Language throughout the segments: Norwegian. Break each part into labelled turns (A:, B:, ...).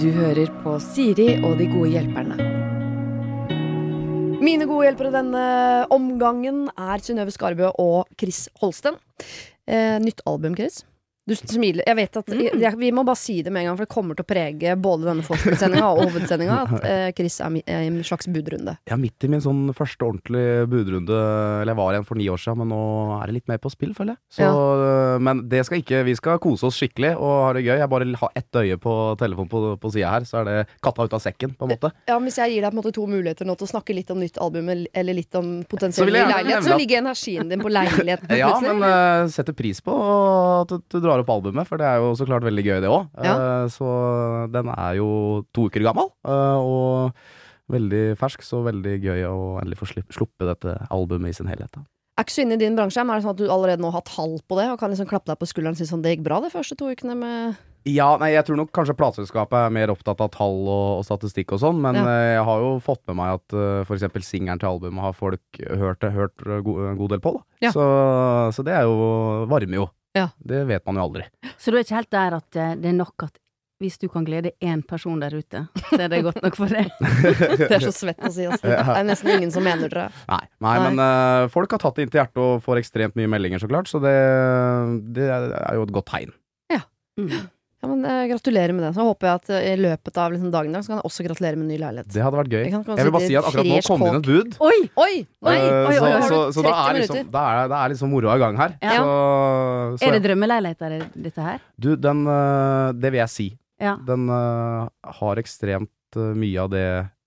A: Du hører på Siri og de gode hjelperne.
B: Mine gode hjelpere denne omgangen er Synnøve Skarbø og Chris Holsten. Eh, nytt album, Chris. Du smiler. Jeg vet at, jeg, Vi må bare si det med en gang, for det kommer til å prege både denne forskningssendinga og hovedsendinga at eh, Chris er mi- er i en slags budrunde.
C: Jeg er midt i min sånn første ordentlige budrunde, eller jeg var en for ni år siden, men nå er det litt mer på spill, føler jeg. Så, eh, Men det skal ikke, vi skal kose oss skikkelig og ha det gøy. Jeg bare har ett øye på telefonen på, på sida her, så er det katta ut av sekken, på en måte.
B: Ja, men Hvis jeg gir deg på en måte to muligheter nå til å snakke litt om nytt album el- eller litt om
C: Så
B: potensiell
C: vil
B: ny
C: jeg gjerne
B: leilighet,
C: nevne
B: så
C: at-
B: ligger energien din på leiligheten.
C: Ja,
B: plutselig.
C: men eh, setter pris på at du, du drar opp albumet, for det er jo så klart veldig gøy, det òg. så den er jo to uker gammel, eh, og veldig fersk, så veldig gøy å endelig få slipp- sluppe dette albumet i sin helhet. Da.
B: Er ikke så inne i din bransje, men er det sånn at du allerede nå har tall på det og kan liksom klappe deg på skulderen og si sånn det gikk bra de første to ukene med
C: Ja, nei, jeg tror nok kanskje plateselskapet er mer opptatt av tall og, og statistikk og sånn, men
B: Ja.
C: eh, jeg har jo fått med meg at uh, f.eks. singelen til albumet har folk hørt, det- hørt eh, go, en god del på, da.
B: Ja.
C: Så, så det er jo varme, jo.
B: Ja.
C: Det vet man jo aldri.
D: Så du er ikke helt der at eh, det er nok at hvis du kan glede én person der ute, så er det godt nok for deg.
B: Det er så svett å si, altså. Det er nesten ingen som mener dere.
C: Nei, nei,
D: Nei.
C: men eh, folk har tatt det inn til hjertet og får ekstremt mye meldinger, så klart, så det, det er jo et godt tegn.
D: Mm.
B: Ja, men eh, Gratulerer med det. Så håper jeg at eh, i løpet av liksom, dagen i dag så kan jeg også gratulere med ny leilighet.
C: Det hadde vært gøy.
B: Jeg kan- kan
C: Jeg vil bare
B: sitte
C: si at akkurat nå
B: fresh
C: kom det inn et bud.
D: Oi!
B: Oi! Nei!
C: eh,
D: oi,
C: så,
D: oi, oi.
C: så, så da
B: 30
C: er liksom,
B: minutter.
C: da er, da er liksom moroa i gang her.
D: Ja.
C: Så, så
D: Er det drømmeleiligheter, i dette her?
C: Du, den eh, Det vil jeg si.
D: Ja.
C: Den eh, har ekstremt eh, mye av det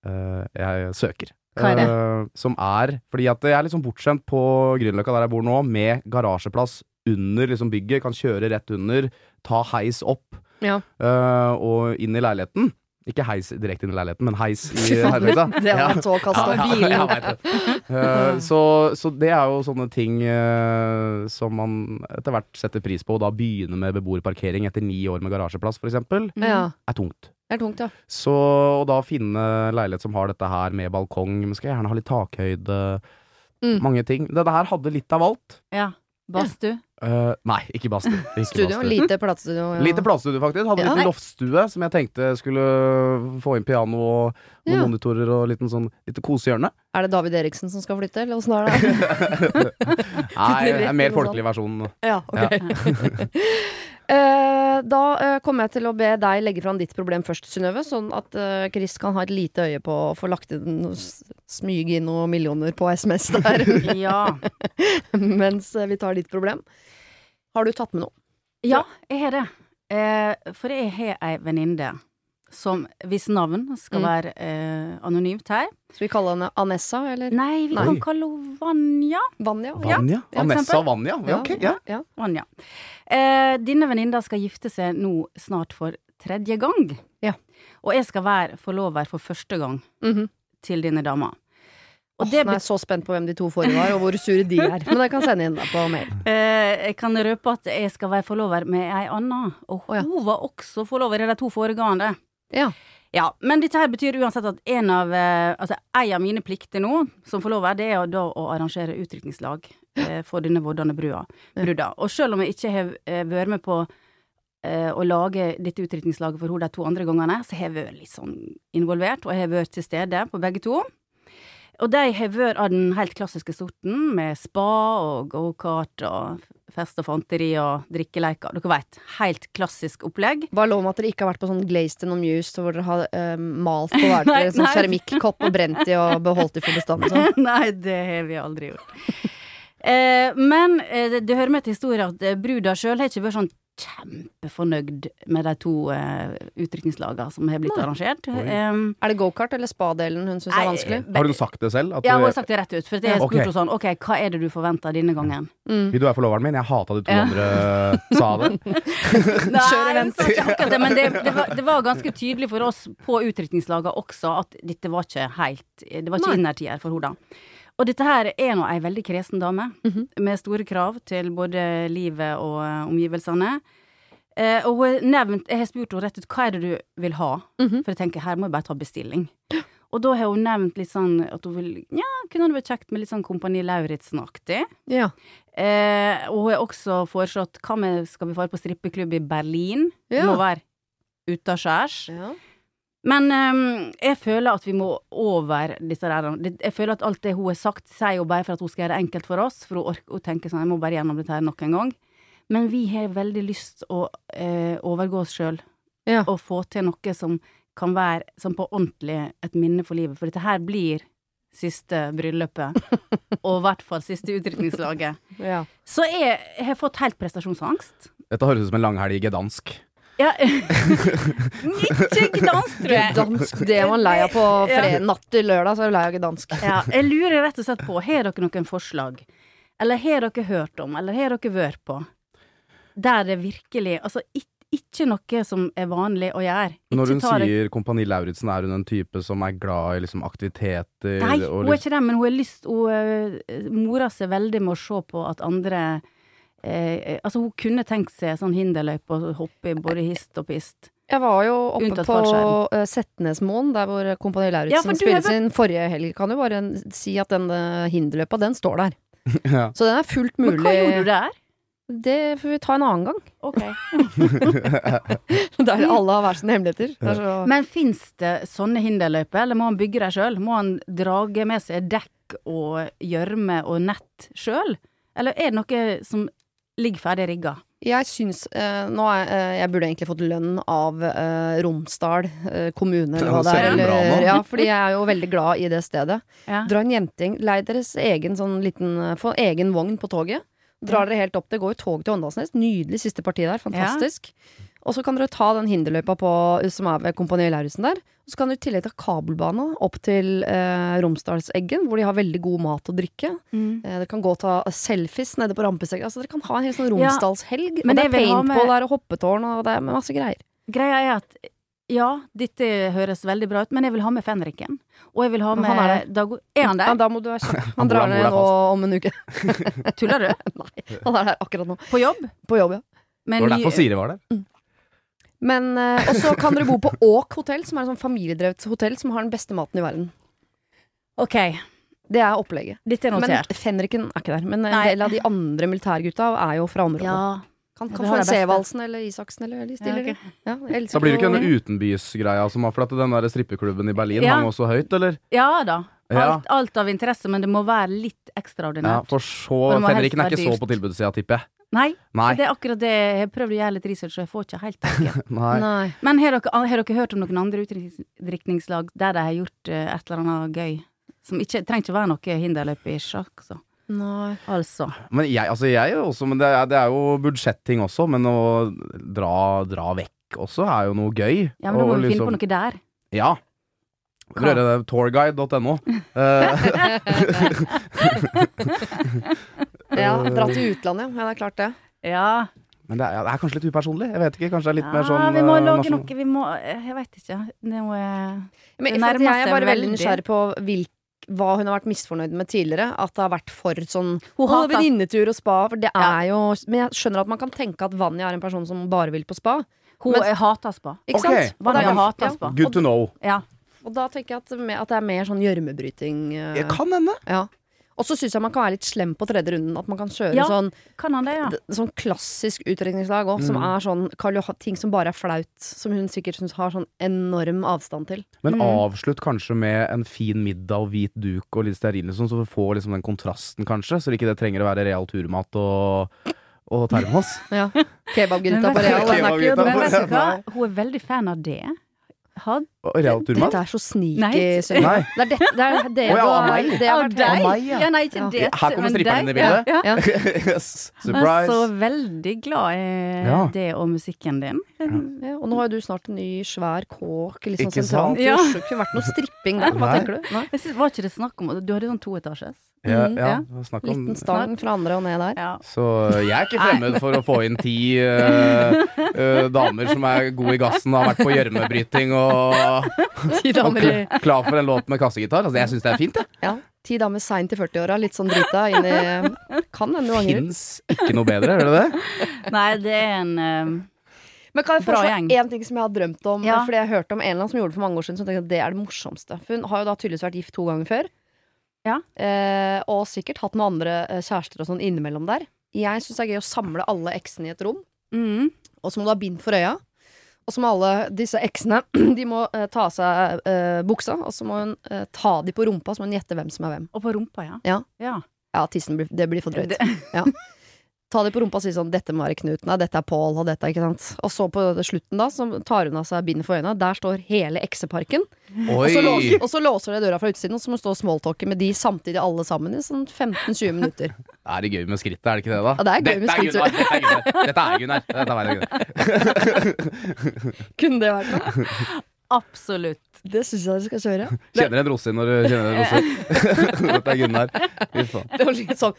C: eh, jeg søker.
D: Hva er det?
C: Eh, som er Fordi at jeg er liksom bortskjemt på Grünerløkka, der jeg bor nå, med garasjeplass under liksom bygget. Kan kjøre rett under, ta heis opp
B: Ja.
C: eh, og inn i leiligheten. Ikke heis direkte inn i leiligheten, men heis i leiligheten.
B: Det er et såkast
C: Ja,
B: opp.
C: ja, ja, jeg vet det. Altså, Eh, så, så det er jo sånne ting eh, som man etter hvert setter pris på. Og da begynne med beboerparkering etter ni år med garasjeplass, f.eks., er
B: Mm. Ja.
C: tungt.
B: Det er tungt, ja.
C: Så å da finne leilighet som har dette her med balkong, men skal gjerne ha litt takhøyde,
B: Mm.
C: mange ting. Dette her hadde litt av alt.
D: Ja. Badstue?
C: Eh, nei, ikke badstue. Ikke
B: Studio.
C: badstue.
B: Lite platestudio. Ja.
C: Lite platestudio, faktisk. Hadde
B: Ja.
C: en liten loftstue som jeg tenkte skulle få inn piano og noen
B: Ja.
C: monitorer og liten sånn, lite kosehjørne.
B: Er det David Eriksen som skal flytte, eller åssen er det?
C: Nei,
B: Det er
C: en mer
B: noe sånt.
C: folkelig versjon.
B: Ja, ok. Eh, da eh, kommer jeg til å be deg legge fram ditt problem først, Synnøve. Sånn at eh, Chris kan ha et lite øye på å få lagt inn noe s- Smyge inn noen millioner på SMS der
D: Ja.
B: mens eh, vi tar ditt problem. Har du tatt med noe?
D: Ja, jeg har det. Eh, for jeg har ei venninne som hvis navn skal
B: Mm.
D: være eh, anonymt her.
B: Skal vi kalle henne Anessa, eller
D: Nei, vi
C: Nei.
D: kan kalle henne Vanja.
B: Vanja?
C: Vanja?
B: ja,
C: Vanessa
D: eksempel.
C: Vanja? Ja, ok, ja.
B: ja.
D: Vanja. Sånn, Eh, denne venninna skal gifte seg nå snart for tredje gang.
B: Ja.
D: Og jeg skal være forlover for første gang
B: Mhm.
D: til denne dama. Og
B: Åh,
D: det
B: nå er jeg så spent på hvem de to forrige var, og hvor sure de er. Men jeg kan sende inn deg på mail.
D: Eh, jeg kan røpe at jeg skal være forlover med ei anna, og
B: Å, ja.
D: hun var også forlover i de to foregående.
B: Ja.
D: Ja, men dette her betyr uansett at en av, eh, altså, en av mine plikter nå, som forlover, det er jo da å arrangere utrykningslag eh, for denne vordende brua,
B: Ja.
D: bruda. Og selv om jeg ikke har eh, vært med på eh, å lage dette utrykningslaget for henne de to andre gangene, så har jeg vært litt sånn involvert, og jeg har vært til stede på begge to. Og de har vært av den helt klassiske sorten, med spa og gokart og fest og fanteri og drikkeleker. Dere veit, helt klassisk opplegg.
B: Bare lov med at dere ikke har vært på sånn glazed and amused, hvor dere har eh, malt på hver
D: Nei,
B: deres sånn
D: nei.
B: keramikkopp og brent de og beholdt de for bestandig. Sånn.
D: Nei, det har vi aldri gjort. Eh, men eh, det- det hører med til historien at eh, bruda sjøl har ikke vært sånn kjempefornøyd med de to eh, utrykningslagene som har blitt
B: Nei.
D: arrangert.
C: Oi.
D: Um,
B: Er det gokart eller spa-delen hun syns er vanskelig?
C: Har hun sagt det selv? At
D: Ja, hun har
C: du,
D: sagt det rett ut. For jeg har spurt
C: Ok.
D: henne sånn, ok, hva er det du forventer denne gangen?
B: Mm.
C: vil du være forloveren min? Jeg hata de to
D: Ja.
C: andre sa det.
D: Nei,
B: Kjør
D: hun
B: event.
D: sa ikke akkurat det, men det, det, var, det var ganske tydelig for oss på utrykningslagene også at dette var ikke helt Det var ikke
B: Nei.
D: innertier for henne, da. Og dette her er nå ei veldig kresen dame,
B: Mhm.
D: med store krav til både livet og eh, omgivelsene. Eh, og hun er nevnt, jeg har spurt henne rett ut hva er det du vil ha,
B: Mhm.
D: for jeg tenker her må jeg bare ta bestilling. Og da har hun nevnt litt sånn at hun vil Ja, kunne det vært kjekt med litt sånn Kompani Lauritzen-aktig?
B: Ja.
D: Eh, og hun har også foreslått hva med skal vi fare på strippeklubb i Berlin? Det
B: Ja.
D: Må være utaskjærs.
B: Ja.
D: Men ehm, jeg føler at vi må over disse der det- Jeg føler at alt det hun har sagt, sier hun bare for at hun skal gjøre det enkelt for oss. For hun, orker, hun tenker sånn Jeg må bare gjennom dette her nok en gang. Men vi har veldig lyst å eh, overgå oss sjøl.
B: Ja.
D: Og få til noe som kan være som på ordentlig et minne for livet. For dette her blir siste bryllupet. og i hvert fall siste utrykningslaget.
B: Ja.
D: Så jeg, jeg har fått helt prestasjonsangst.
C: Dette høres ut som en langhelg i gedansk.
D: Ja. Ikke gdansk, tror jeg.
B: Dansk, det er man lei av på fred. natt til lørdag, så er du lei av dansk.
D: Ja, jeg lurer rett og slett på, har dere noen forslag? Eller har dere hørt om, eller har dere vært på? Der det virkelig Altså, ik ikke noe som er vanlig å gjøre. Ikke
C: Når hun
D: ta det-
C: sier Kompani Lauritzen, er hun en type som er glad i liksom, aktiviteter
D: Nei,
C: og
D: hun er ikke det, men hun har lyst Hun øh, morer seg veldig med å se på at andre eh, Altså, hun kunne tenkt seg sånn hinderløype og hoppe i både hist og pist.
B: Jeg var jo oppe
D: Unntatt
B: på
D: fallskjerm.
B: eh, Setnesmoen, der hvor eh, Kompani
D: Ja,
B: Lauritzen
D: for du
B: spiller
D: har
B: sin forrige helg. Kan jo bare en- si at den eh, hinderløpa, den står der.
C: Ja.
B: Så den er fullt
D: Men
B: mulig.
D: hva gjorde du der?
B: Det får vi ta en annen gang. Mm.
D: Ok.
B: Der alle har hver sine hemmeligheter. Det er så-
D: Men fins det sånne hinderløyper, eller må han bygge dem sjøl? Må han drage med seg dekk og gjørme og nett sjøl? Eller er det noe som ligger ferdig rigga?
B: Jeg syns eh, Nå er eh, Jeg burde egentlig fått lønn av eh, Romsdal eh, kommune, eller hva det
C: Ja,
B: er.
C: ser du bra
B: Eller,
C: nå?
B: ja, fordi jeg er jo veldig glad i det stedet.
D: Ja.
B: Dra en jentegjeng. Lei deres egen sånn liten eh, Få egen vogn på toget. Drar dere helt opp. Det går jo tog til Åndalsnes. Nydelig siste parti der. Fantastisk. Og så kan dere ta den hinderløypa på, som er ved Kompani Lauritzen der. Og så kan dere i tillegg ta kabelbane opp til eh, Romsdalseggen, hvor de har veldig god mat og drikke.
D: Mm.
B: Eh, dere kan gå og ta selfies nede på rampesekken. Altså, dere kan ha en hel sånn
D: Ja,
B: Romsdalshelg.
D: men
B: og det
D: jeg
B: er
D: vil ha med-
B: paintball der og hoppetårn og det er masse greier.
D: Greia er at ja, dette høres veldig bra ut, men jeg vil ha med fenriken. Og jeg vil ha
B: Han
D: med
B: er
D: Dag Er han
B: Ja,
D: der?
B: da må du være kjapp. Han
C: bor-
B: drar
C: han bor
B: ned
C: der
B: nå om en uke.
D: Tuller du?
B: Han er der akkurat nå.
D: På jobb?
B: På jobb, ja.
D: Med
C: Det var
D: ny-
C: derfor Siri var der.
B: Men, eh, og så kan dere bo på Åk hotell, som er et sånn familiedrevet hotell som har den beste maten i verden.
D: OK,
B: Det er opplegget.
D: dette er
B: Men
D: notert.
B: fenriken er ikke der. Men en
D: Nei.
B: del av de andre militærgutta er jo fra området.
D: ja.
B: Kan,
D: Det
B: kan
D: har
B: få en
D: det beste.
B: Sevaldsen eller Isaksen eller de stiller.
D: Ja, ok.
B: Ja, jeg elsker
C: Da blir det ikke
B: noe-
C: den utenbysgreia som har flatt den der strippeklubben i Berlin
D: Ja.
C: hang også høyt, eller?
D: ja da.
C: Ja.
D: Alt, alt av interesse, men det må være litt
C: Ja,
D: ekstraordinært.
C: for så
D: For det må helst
C: Fenriken er
D: være
C: ikke
D: dyrt.
C: så på tilbudssida, tipper jeg.
D: Nei,
C: Nei.
D: det er akkurat det. Jeg har prøvd å gjøre litt research, og jeg får ikke helt tak i det.
C: Nei.
B: Nei.
D: Men har dere, har dere hørt om noen andre utdrikningslag der de har gjort eh, et eller annet gøy? Som ikke, trenger ikke være noe hinderløp i sjakk, så.
B: Nei.
D: altså.
C: Men jeg, altså jeg er jo også, men det er, det er jo budsjetting også, men å dra, dra vekk også er jo noe gøy.
D: Ja, men da må
C: Og
D: vi finne
C: liksom-
D: på noe der.
C: Ja.
D: Hva?
C: Røre det, tourguide.no. Eh,
B: Ja,
C: Eh.
B: dra til utlandet, ja. ja. Det er klart det.
D: Ja,
C: men det er, ja, det er kanskje litt upersonlig. Jeg vet ikke, kanskje det er litt mer
D: Ja,
C: sånn
D: vi må
C: eh,
D: lage
C: nasjonal-
D: noe, vi må eh, Jeg veit ikke. eh, Noe
B: Men
D: Det
B: for at
D: nærmer
B: jeg er
D: seg
B: bare veldig
D: veldig.
B: nysgjerrig på hvilk, hva hun har vært misfornøyd med tidligere. At det har vært for sånn
D: Hun
B: «Å,
D: hater-
B: venninnetur og spa. For det
D: Ja.
B: er jo Men jeg skjønner at man kan tenke at Vanja er en person som bare vil på spa.
D: Hun
B: Men-
D: eh, hater spa.
B: Ikke
C: Ok.
B: sant? Og, det
D: Vanja
B: er,
D: hater
B: ja.
D: spa.
C: Good to know.
D: Ja.
B: og da tenker jeg at, det mer- at det er mer sånn gjørmebryting. eh,
C: Det kan hende.
B: Ja. Og så syns jeg man kan være litt slem på tredje runden. At man kan kjøre
D: Ja.
B: sånn,
D: Kan han det, ja?
B: d- sånn klassisk utdrikningslag òg,
C: Mm.
B: som er sånn Karl Johan, ting som bare er flaut. Som hun sikkert syns har sånn enorm avstand til.
C: Men
D: Mm.
C: avslutt kanskje med en fin middag og hvit duk og litt stearin, liksom, så du får liksom den kontrasten, kanskje. Så ikke det trenger å være real turmat og, og termos.
B: Ja. Kebabgryta
D: Men
B: på
D: vet-
B: Real, den er
C: Kebabgryta
B: ikke
D: Men
C: på
B: den
D: vet
B: beste.
D: du hva? Hun er veldig fan av det. Had
C: Og real turmat?
B: Dette er så
D: Nei.
B: sneaky, Sunniva.
C: Nei.
B: Det er det, det, er det
C: Å ja,
B: du
C: av
B: har-
C: meg?
B: det har
D: Av
B: vært-
D: deg?
C: meg, ja.
D: Ja, nei, ikke det.
C: Her kommer
D: men
C: stripperen
D: deg.
C: inn i bildet.
D: Ja, ja.
B: Ja.
D: Jeg
C: yes.
D: er så
C: Surprise!
D: veldig glad i
C: Ja.
D: det og musikken din.
B: Ja, og nå har jo du snart en ny svær kåk litt sånn
C: Ikke
B: sentralt
C: sant?
B: i
D: Ja.
B: Oslo. Det kunne ikke vært noe stripping der. Hva
C: Nei.
B: tenker du? Nei.
D: Jeg synes, var ikke det snakk om Du hadde sånn toetasjes.
C: Ja,
B: Mm,
C: ja.
D: ja.
C: Snakk om
B: Liten stang fra andre og ned der.
D: Ja.
C: Så jeg er ikke fremmed for å få inn ti eh, eh, damer som er gode i gassen og har vært på gjørmebryting og,
B: Ti
C: og
B: damer, i,
C: kl- klar for en låt med kassegitar. Altså, jeg syns det er fint, jeg.
B: ja, ti damer seint i 40-åra, litt sånn drita inn i Kan hende du angrer.
C: Fins ikke noe bedre, gjør det det?
D: Nei, det er en eh,
B: Men kan jeg
D: Bra
B: foreslå
D: gjeng.
B: én ting som jeg har drømt om?
D: Ja.
B: Fordi jeg hørte om en eller annen som gjorde det for mange år siden. Så tenkte jeg at det er det morsomste For Hun har jo da tydeligvis vært gift to ganger før.
D: Ja.
B: Eh, og sikkert hatt noen andre eh, kjærester og sånn innimellom der. Jeg syns det er gøy å samle alle eksene i et rom,
D: Mm.
B: og så må du ha bind for øya. Og så må alle disse eksene De må eh, ta av seg eh, buksa, og så må hun eh, ta de på rumpa, så må hun gjette hvem som er hvem.
D: Og på rumpa, ja.
B: Ja.
D: ja.
B: Ja, tissen blir, det blir for drøyt.
D: Det,
B: Ta de på rumpa og si sånn 'Dette må være Knut', nei, 'dette er Pål', og dette, ikke sant. Og så på slutten, da, så tar hun av seg bindet for øynene. Der står hele ekseparken. Og så, låser, og så låser de døra fra utsiden, og så må du stå og smalltalke med de samtidig alle sammen i sånn 15-20 minutter.
C: Er det gøy med skrittet, er det ikke det, da?
B: Ja, det er gøy med
C: Dette
B: skrittet.
C: Gunnar, Dette er Gunnar. Dette er Gunnar. Dette er Gunnar.
B: Kunne det vært noe?
D: absolutt.
B: Det syns jeg dere skal kjøre.
C: Kjenner en rosin når du kjenner en rosin. Dette er Gunnar. Fy faen.
B: Det var litt sånn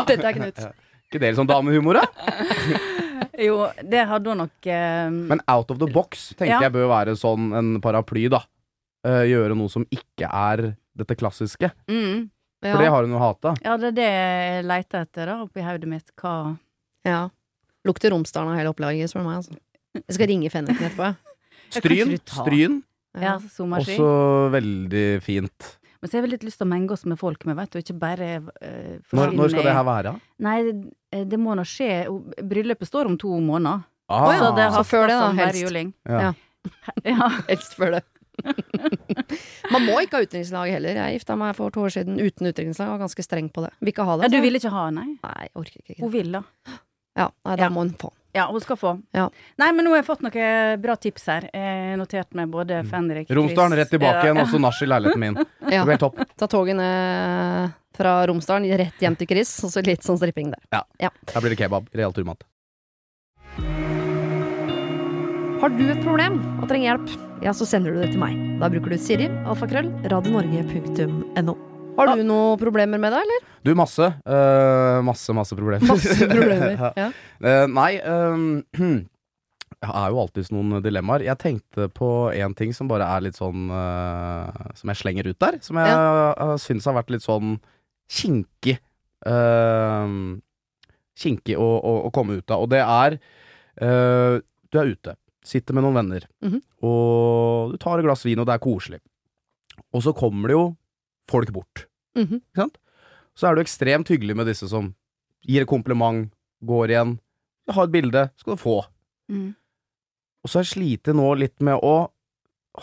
B: Dette er Knut.
C: Ikke dere sånn damehumor, da?
D: Jo, det hadde hun nok eh,
C: Men out of the box tenker
D: Ja.
C: jeg bør være sånn en paraply, da. Eh, gjøre noe som ikke er dette klassiske.
D: mm.
C: For det
B: Ja.
C: har hun jo hata.
D: Ja, det er det jeg leter etter, da, oppi hodet mitt. Hva
B: ja. Lukter Romsdalen av hele opplaget, spør du meg. altså Jeg skal ringe Fenriken etterpå. jeg.
D: Ja, kan ikke
C: Stryn.
D: du ta-
C: Stryn.
D: Ja,
B: Ja.
D: sommerski.
C: Også veldig fint.
D: Men så har vi litt lyst til å menge oss med folk, men vet du, ikke bare eh,
C: Når, når skal
D: forsvinne-
C: det her være?
D: Nei, eh, det må nå skje. O- Bryllupet står om to måneder.
C: Ah,
B: Å ja,
D: Så det
B: Så
D: har
B: før det da,
D: som
B: helst.
D: værjuling.
C: Ja.
D: Ja.
B: Helst før det. Man må ikke ha utenrikslag heller. Jeg gifta meg for to år siden uten utenrikslag. Jeg Var ganske streng på det. Vil ikke
D: ja,
B: ha det.
D: du
B: altså.
D: ville ikke ha, nei?
B: Nei, jeg orker ikke.
D: Hun vil, da.
B: Ja, nei, da
D: Ja.
B: må hun få.
D: Ja, hun skal få.
B: Ja.
D: Nei, men nå har jeg fått noen bra tips her. Jeg har notert meg både
C: Mm.
D: Fenrik
C: Romsdalen rett tilbake igjen,
D: Ja.
C: altså. og så nach i leiligheten min.
B: Ja.
C: Det blir helt topp.
B: Ta toget ned fra Romsdalen, rett hjem til Chris, og så litt sånn stripping der.
C: Her blir det kebab. Real turmat.
B: Har du et problem og trenger hjelp, ja, så sender du det til meg. Da bruker du Siri, alfakrøll, radionorge.no. Har du noen problemer med det, eller?
C: Du, masse. eh, masse, masse problemer.
B: Masse problemer.
C: Ja.
B: Ja.
C: Eh, nei eh, Jeg har jo alltids noen dilemmaer. Jeg tenkte på én ting som bare er litt sånn eh, Som jeg slenger ut der. Som jeg eh, syns har vært litt sånn kinkig. eh, kinkig å, å, å komme ut av. Og det er eh, Du er ute. Sitter med noen venner.
B: Mhm.
C: Og du tar et glass vin, og det er koselig. Og så kommer det jo folk bort
B: Mhm.
C: så er du ekstremt hyggelig med disse som gir et kompliment, går igjen. Jeg har et bilde, skal du få.
D: Mm.
C: Og så har jeg slitt nå litt med å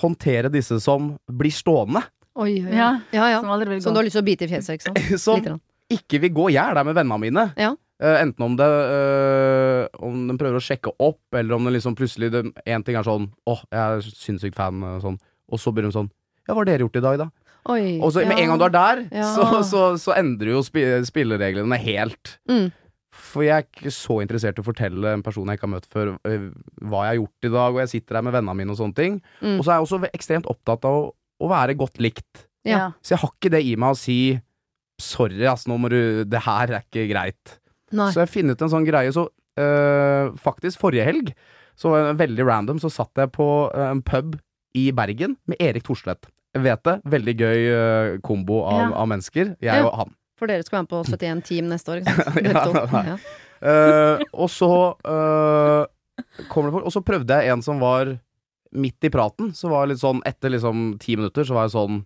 C: håndtere disse som blir stående.
B: Oi, oi, oi.
D: Ja,
B: ja, ja.
D: som aldri vil
B: Som du
D: gå.
B: har lyst til å bite i fjeset, ikke sant?
C: Som
B: Lite grann.
C: ikke vil gå. Jeg er der med vennene mine.
B: Ja.
C: Eh, enten om det eh, Om de prøver å sjekke opp, eller om det liksom plutselig det- En ting er sånn Å, jeg er sinnssykt fan, eh, sånn. Og så blir de sånn Ja, hva har dere gjort i dag, da?
B: Oi.
C: Og så med
B: ja.
C: en gang du er der,
B: Ja.
C: så, så, så endrer jo spi spillereglene helt.
B: Mm.
C: For jeg er ikke så interessert i å fortelle en person jeg ikke har møtt før, øh, hva jeg har gjort i dag, og jeg sitter her med vennene mine og sånne ting.
B: Mm.
C: Og så er jeg også ve- ekstremt opptatt av å, å være godt likt.
D: Ja.
C: Så jeg har ikke det i meg å si sorry, ass, nå må du Det her er ikke greit.
B: Nei.
C: Så jeg har funnet en sånn greie, så øh, faktisk forrige helg, så var det veldig random, så satt jeg på øh, en pub i Bergen med Erik Thorstvedt. Jeg vet det. Veldig gøy øh, kombo av,
D: Ja.
C: av mennesker. Jeg
B: Ja.
C: og han.
B: For dere skal være med på 71 Team neste år, ikke sant?
C: Ja,
B: Dere to.
C: nei.
B: ja.
C: Eh, og så eh, kommer det folk, og så prøvde jeg en som var midt i praten. Så var jeg litt sånn, etter liksom ti minutter, så var jeg sånn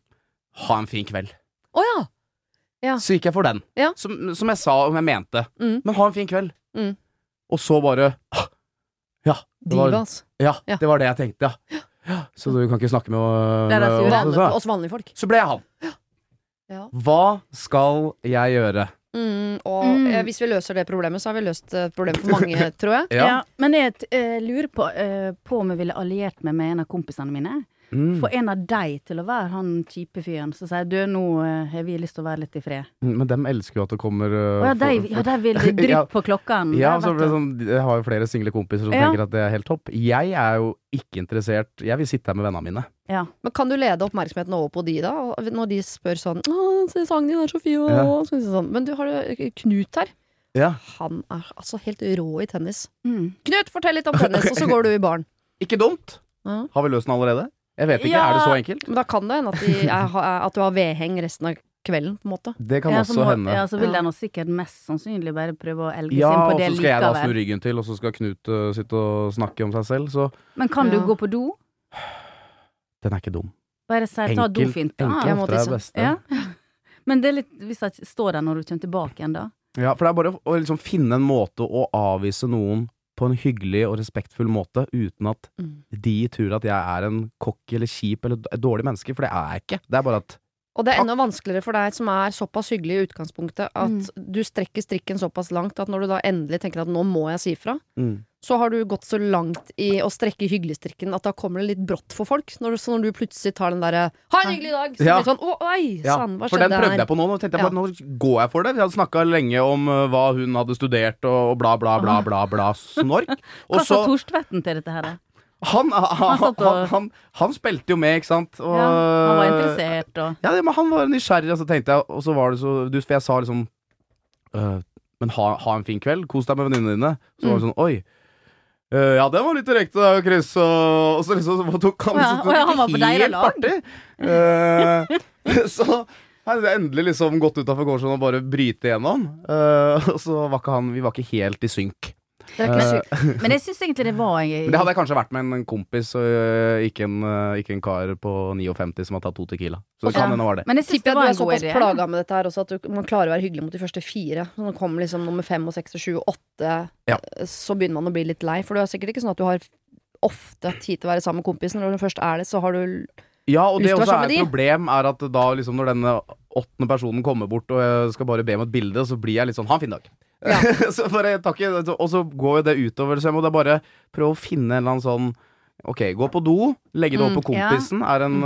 C: Ha en fin kveld.
B: Å ja! Ja.
C: Så gikk jeg for den.
B: Ja.
C: Som, som jeg sa om jeg mente.
B: Mm.
C: Men ha en fin kveld.
B: Mm.
C: Og så bare «Ah, ja, det var,
B: Diva, altså.
C: ja,
B: Ja.
C: det var det jeg tenkte, ja. ja. Så du kan ikke snakke med, eh,
D: Det er det som
C: med
D: gjør
C: så,
B: Vanlige, oss vanlige folk.
C: så ble jeg han.
B: Ja.
C: Hva skal jeg gjøre?
B: Mm, og
D: Mm.
B: eh, hvis vi løser det problemet, så har vi løst eh, problemet for mange, tror jeg.
D: Ja. men jeg eh, lurer på, eh, på om jeg ville alliert meg med en av kompisene mine.
C: Mm.
D: Få en av deg til å være han kjipe fyren som sier du, nå eh, har vi lyst til å være litt i fred.
C: Men dem elsker jo at det kommer eh,
D: Å ja, de,
C: folk-
D: ja, de vil dryppe
C: Ja.
D: på klokken.
C: Ja,
D: Der,
C: så
D: vet
C: ble det
D: du.
C: sånn, jeg har jo flere single kompiser som
D: Ja.
C: tenker at det er helt topp. Jeg er jo ikke interessert. Jeg vil sitte her med vennene mine.
D: ja.
B: Men kan du lede oppmerksomheten over på de, da? Og Når de spør sånn Å, se sangen din er så fin, og
C: Ja.
B: så- sånn. Men du har jo Knut her.
C: Ja.
B: Han er altså helt rå i tennis.
D: Mm.
B: Knut, fortell litt om tennis, og så går du i baren.
C: Ikke dumt!
B: Ja.
C: Har vi løst den allerede? Jeg vet ikke.
D: Ja.
C: Er det så enkelt?
B: Men da kan det hende at, de er, ha- at du har vedheng resten av kvelden, på en måte.
C: Det kan
D: ja, så
C: også
D: må-
C: hende.
D: Ja,
C: Ja,
D: så vil
B: Ja.
D: de nå sikkert mest sannsynlig bare prøve å elge seg inn
C: og
D: på
C: så
D: det
C: skal jeg da snu
D: likevel.
C: ryggen til, og så skal Knut øh, sitte og snakke om seg selv. Så
D: Men kan
B: Ja.
D: du gå på do?
C: den er ikke dum.
D: Bare si ta
C: Enkel,
D: dofint. Ah,
B: Jeg
C: enkel
D: Ja.
B: må
C: ofte er
B: tisse.
C: det beste.
D: Ja. Men det er litt, hvis jeg står der når du kommer tilbake igjen, da.
C: Ja, for det er bare å, å liksom finne en måte å avvise noen på en hyggelig og respektfull måte, uten at
B: Mm.
C: de tror at jeg er en kokk eller kjip eller d- et dårlig menneske, for det er jeg ikke. Det er bare at
B: Og det er enda vanskeligere for deg som er såpass hyggelig i utgangspunktet, at du strekker strikken såpass langt at når du da endelig tenker at nå må jeg si fra, så har du gått så langt i å strekke hyggeligstrikken at da kommer det litt brått for folk. Når, så når du plutselig tar den derre 'ha en hyggelig dag', så
C: Ja.
B: blir det sånn 'å, oi
C: Ja,
B: sann, hva
C: for den
B: skjedde
C: prøvde
B: her?'
C: jeg på nå. Nå tenkte jeg
B: Ja.
C: bare, nå går jeg for det. Vi hadde snakka lenge om øh, hva hun hadde studert, og, og bla, bla, bla, bla, bla, snork. Og
D: Hva sa
C: så-
D: Torstvetten til dette her? da?
C: han, han,
D: satt og-
C: han, han, han spilte jo med, ikke sant? Og,
D: Ja, han var interessert og
C: Ja, det- men han var nysgjerrig, og så tenkte jeg, og så var det så du, For jeg sa liksom «Øh, Men ha, ha en fin kveld, kos deg med venninnene dine. Så
D: Mm.
C: var det sånn, oi. øh, ja, den var litt direkte, da, Chris. Og, og så liksom så tok han
D: Å ja,
C: så
D: å
C: tok
D: ja, han var på
C: det
D: deg i
C: helt
D: lag.
C: artig. Eh, så har jeg endelig liksom gått utafor gårdsåsen og bare bryte igjennom. Eh, og så var ikke han Vi var ikke helt i synk.
B: Det er ikke
C: Eh,
B: sykt.
D: Men jeg syns egentlig det var en
C: Men det hadde jeg kanskje vært med en- en kompis, og øh, ikke en, øh, ikke en kar på 59 som har tatt to Tequila. Så det
D: Ja.
C: kan hende det var det.
D: Men jeg synes
B: Tipper
D: det
B: jeg du
D: var
B: er
D: en god
B: såpass
D: idé.
B: plaga med dette her også at du, man klarer å være hyggelig mot de første fire. Så når det kommer liksom nummer fem og seks og sju og åtte,
C: Ja.
B: så begynner man å bli litt lei. For det er sikkert ikke sånn at du har ofte tid til å være sammen med kompisen. Når du først er det, så har du
C: Ja, og det
B: lyst til å være
C: også
B: sammen
C: er et
B: med de.
C: problem, er at da liksom når denne åttende personen kommer bort og jeg skal bare be om et bilde, så blir jeg litt sånn ha en fin dag.
B: Ja.
C: så bare takk, og så går jo det utover, så jeg må da bare prøve å finne en eller annen sånn Ok, gå på do, legge det over
D: Mm,
C: på
D: ja. Mm.
C: kompisen, er en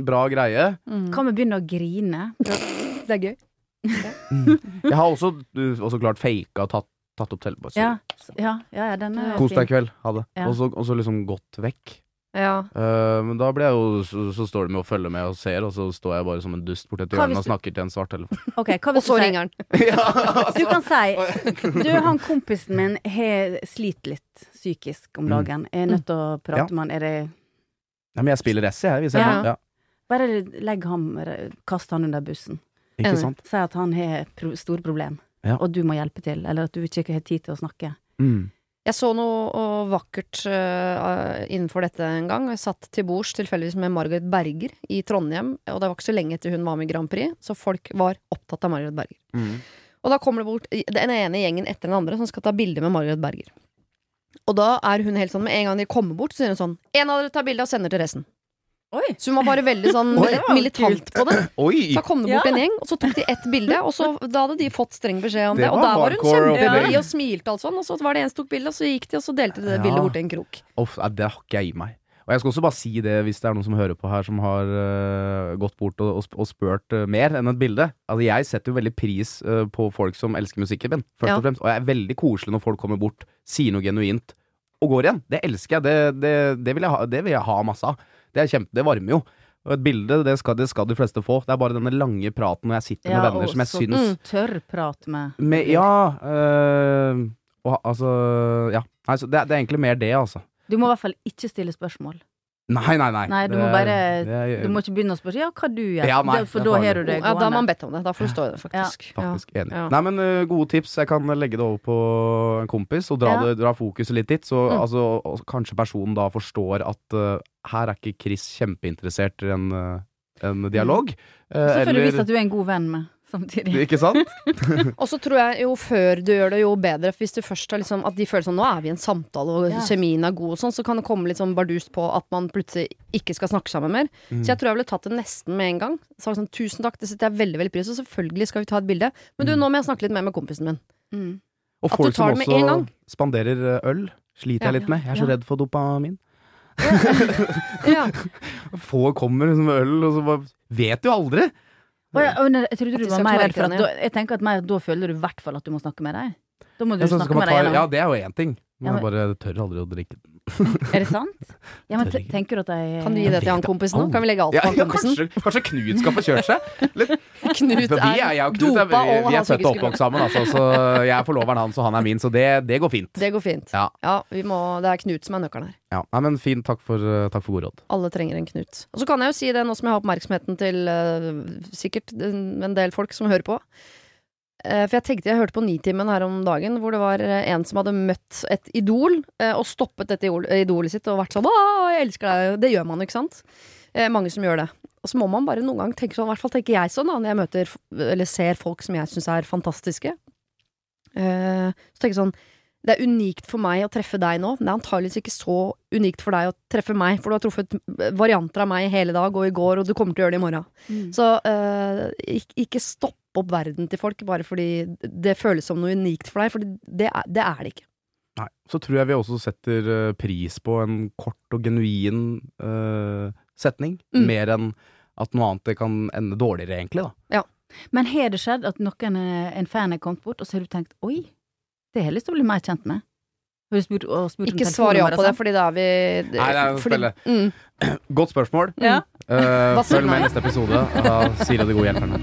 C: eh, bra greie.
D: Kan vi begynne å grine?
B: Det er gøy.
C: Jeg har også, du, også klart faka og tatt, tatt opp telefonen.
D: Ja, s- ja, ja, ja den er
C: Kos deg i
D: fin.
C: kveld. Ha det.
D: Ja.
C: Og så- og så liksom gått vekk.
B: Ja.
C: Eh, men da blir jeg jo så, så står de med og følger med og ser, og så står jeg bare som en dust borti et
D: Hva hvis
C: hjørne og
D: du-
C: snakker til en svart telefon.
D: Ok, hva
B: Og
D: hvis du
B: så
D: sier
B: ringer han.
C: ja, altså.
D: Du kan si Du, han kompisen min har slitt litt psykisk om
C: Mm.
D: dagen. Jeg er nødt til å
C: Ja.
D: prate med han. Er det
C: Nei, men jeg spiller S, jeg. Hvis jeg
B: Ja.
C: ja.
D: Bare legg ham re- Kast han under bussen.
C: Ikke
B: Enig.
C: sant?
D: Si at han har pro store problem,
C: Ja.
D: og du må hjelpe til. Eller at du ikke har tid til å snakke.
C: Mm.
B: Jeg så noe og vakkert øh, innenfor dette en gang. Jeg satt til bords tilfeldigvis med Margaret Berger i Trondheim, og det var ikke så lenge etter hun var med i Grand Prix, så folk var opptatt av Margaret Berger.
C: Mm.
B: Og da kommer det bort den ene gjengen etter den andre som skal ta bilde med Margaret Berger. Og da er hun helt sånn med en gang de kommer bort, så sier hun sånn En av dere tar bilde og sender til resten.
D: Oi!
B: Så hun var bare veldig sånn
C: Oi, det
D: var jo
B: militant på det.
C: Oi!
B: Så da kom det bort
D: Ja.
B: en gjeng, og så tok de ett bilde. Og så, da hadde de fått streng beskjed om
C: Det
B: det. Og
C: var
B: der var hun
C: hardcore
B: kjempeblid
D: opplegg.
B: og smilte og alt sånn. Og så var det en som tok bilde, og så gikk de, og så delte de det
C: Ja.
B: bildet bort til en krok.
C: Uff, nei, det har ikke jeg i meg. Og jeg skal også bare si det hvis det er noen som hører på her som har øh, gått bort og, og, sp- og spurt øh, mer enn et bilde. Altså Jeg setter jo veldig pris øh, på folk som elsker musikken min, først
B: Ja.
C: og fremst. Og jeg er veldig koselig når folk kommer bort, sier noe genuint og går igjen. Det elsker jeg. Det, det, det, vil, jeg ha, det vil jeg ha masse av. Det, er kjempe, det varmer jo. Og et bilde det skal, det skal de fleste få. Det er bare denne lange praten når jeg sitter med venner som jeg
D: så
B: Mm.
D: mm,
C: syns
D: tørr prat med
C: Med, ja øh, og, Altså, ja. Nei, så det, er- det er egentlig mer det, altså.
D: Du må i hvert fall ikke stille spørsmål.
C: Nei, nei, nei.
D: Nei, du må
C: Det-
D: bare-
C: det er-
D: Du må ikke begynne å spørre ja, hva du gjør,
C: Ja, nei,
D: Det- for
C: det er
D: da
C: farlig.
D: har du det
B: Ja, da har man
D: gående.
B: bedt om det. Da får du stå i det, faktisk. Ja.
C: Faktisk enig.
B: Ja.
C: Nei, men ø, gode tips. Jeg kan legge det over på en kompis og dra,
D: Ja.
C: det, dra fokuset litt dit. Så
B: Mm.
C: altså, og kanskje personen da forstår at ø, her er ikke Chris kjempeinteressert i en, ø, en dialog.
D: Og
C: Eh,
D: Så får du vise at du er en god venn med, samtidig.
C: Ikke sant?
B: Og så tror jeg jo før du gjør det, jo bedre. For hvis du først har liksom At de føler sånn Nå er vi i en samtale, og
D: Ja.
B: kjemien er god og sånn, så kan det komme litt sånn bardust på at man plutselig ikke skal snakke sammen mer.
C: Mm.
B: Så jeg tror jeg ville tatt det nesten med en gang. Sagt sånn Tusen takk, det setter jeg veldig, veldig pris på. Selvfølgelig skal vi ta et bilde. Men du,
C: Mm.
B: nå må jeg snakke litt mer med kompisen min.
D: Mm.
C: Og
B: At du
C: folk som
B: tar det med en
C: også
B: gang.
C: spanderer ø, øl. Sliter
B: Ja.
C: jeg litt med. Jeg er så
D: Ja.
C: redd for dopamin.
B: Ja.
C: Få kommer liksom med øl, og så bare Vet jo aldri!
D: Og jeg, og jeg trodde
B: At
D: du
B: de
D: var
B: skal
D: mer
B: knarke
D: redd for at
B: den,
D: da, Jeg tenker at mer, da føler du i hvert fall at du må snakke med dem. Da må du
C: Ja, så skal
D: snakke med
C: man
D: dem
C: ta, ja,
D: gjennom.
C: det er jo én ting. Men
D: Ja,
C: jeg bare tør aldri å drikke
D: Er det sant? Ja, men
C: Tør
D: te-
C: ikke.
D: tenker du at jeg
B: Kan du gi det til han kompisen nå? Kan vi legge alt
C: Eh, Ja,
B: på han
C: ja
B: kompisen?
C: kanskje, kanskje Knut skal få kjørt seg? Litt.
B: Knut
C: For vi er, jeg og
B: er
C: Knut er,
B: dopa
C: vi,
B: og
C: vi
B: har
C: er født
B: psykisk
C: og oppvokst sammen, altså, så jeg er forloveren hans, og han er min, så det, det går fint.
B: Det går fint.
C: Ja.
B: vi må, det er Knut som er nøkkelen her.
C: Ja, nei, men fint, takk for, eh, takk for god råd.
B: Alle trenger en Knut. Og så kan jeg jo si det nå som jeg har oppmerksomheten til eh, sikkert en en del folk som hører på. Eh, for jeg tenkte jeg hørte på Nitimen her om dagen, hvor det var eh, en som hadde møtt et idol, eh, og stoppet dette idol, idolet sitt og vært sånn 'Å, jeg elsker deg'. Det gjør man jo, ikke sant? Eh, mange som gjør det. Og så må man bare noen gang tenke sånn, i hvert fall tenker jeg sånn da, når jeg møter f- eller ser folk som jeg syns er fantastiske. Eh, så tenker jeg sånn Det er unikt for meg å treffe deg nå, men det er antageligvis ikke så unikt for deg å treffe meg, for du har truffet eh, varianter av meg hele dag og i går, og du kommer til å gjøre det i morgen.
D: Mm.
B: Så eh, ikke, ikke stopp opp verden til folk bare fordi det føles som noe unikt for deg, for det er det, er det ikke.
C: Nei. Så tror jeg vi også setter eh, pris på en kort og genuin eh, setning.
B: Mm.
C: Mer enn at noe annet kan ende dårligere, egentlig. da.
D: Men har det skjedd at noen, eh, en fan er kommet bort, og så har du tenkt 'oi, det har jeg lyst til å bli mer kjent med'? Har du spurt, og spurt om
B: Ikke svar
D: telefonnummer
B: ja
D: og
B: på det,
D: sånn?
B: fordi da er vi
C: Nei, det er jo spille.
B: Mm.
C: Godt spørsmål.
D: Ja.
C: Eh,
B: Hva sier
C: følg med
B: nei?
C: neste episode av Siri og de gode hjelperne.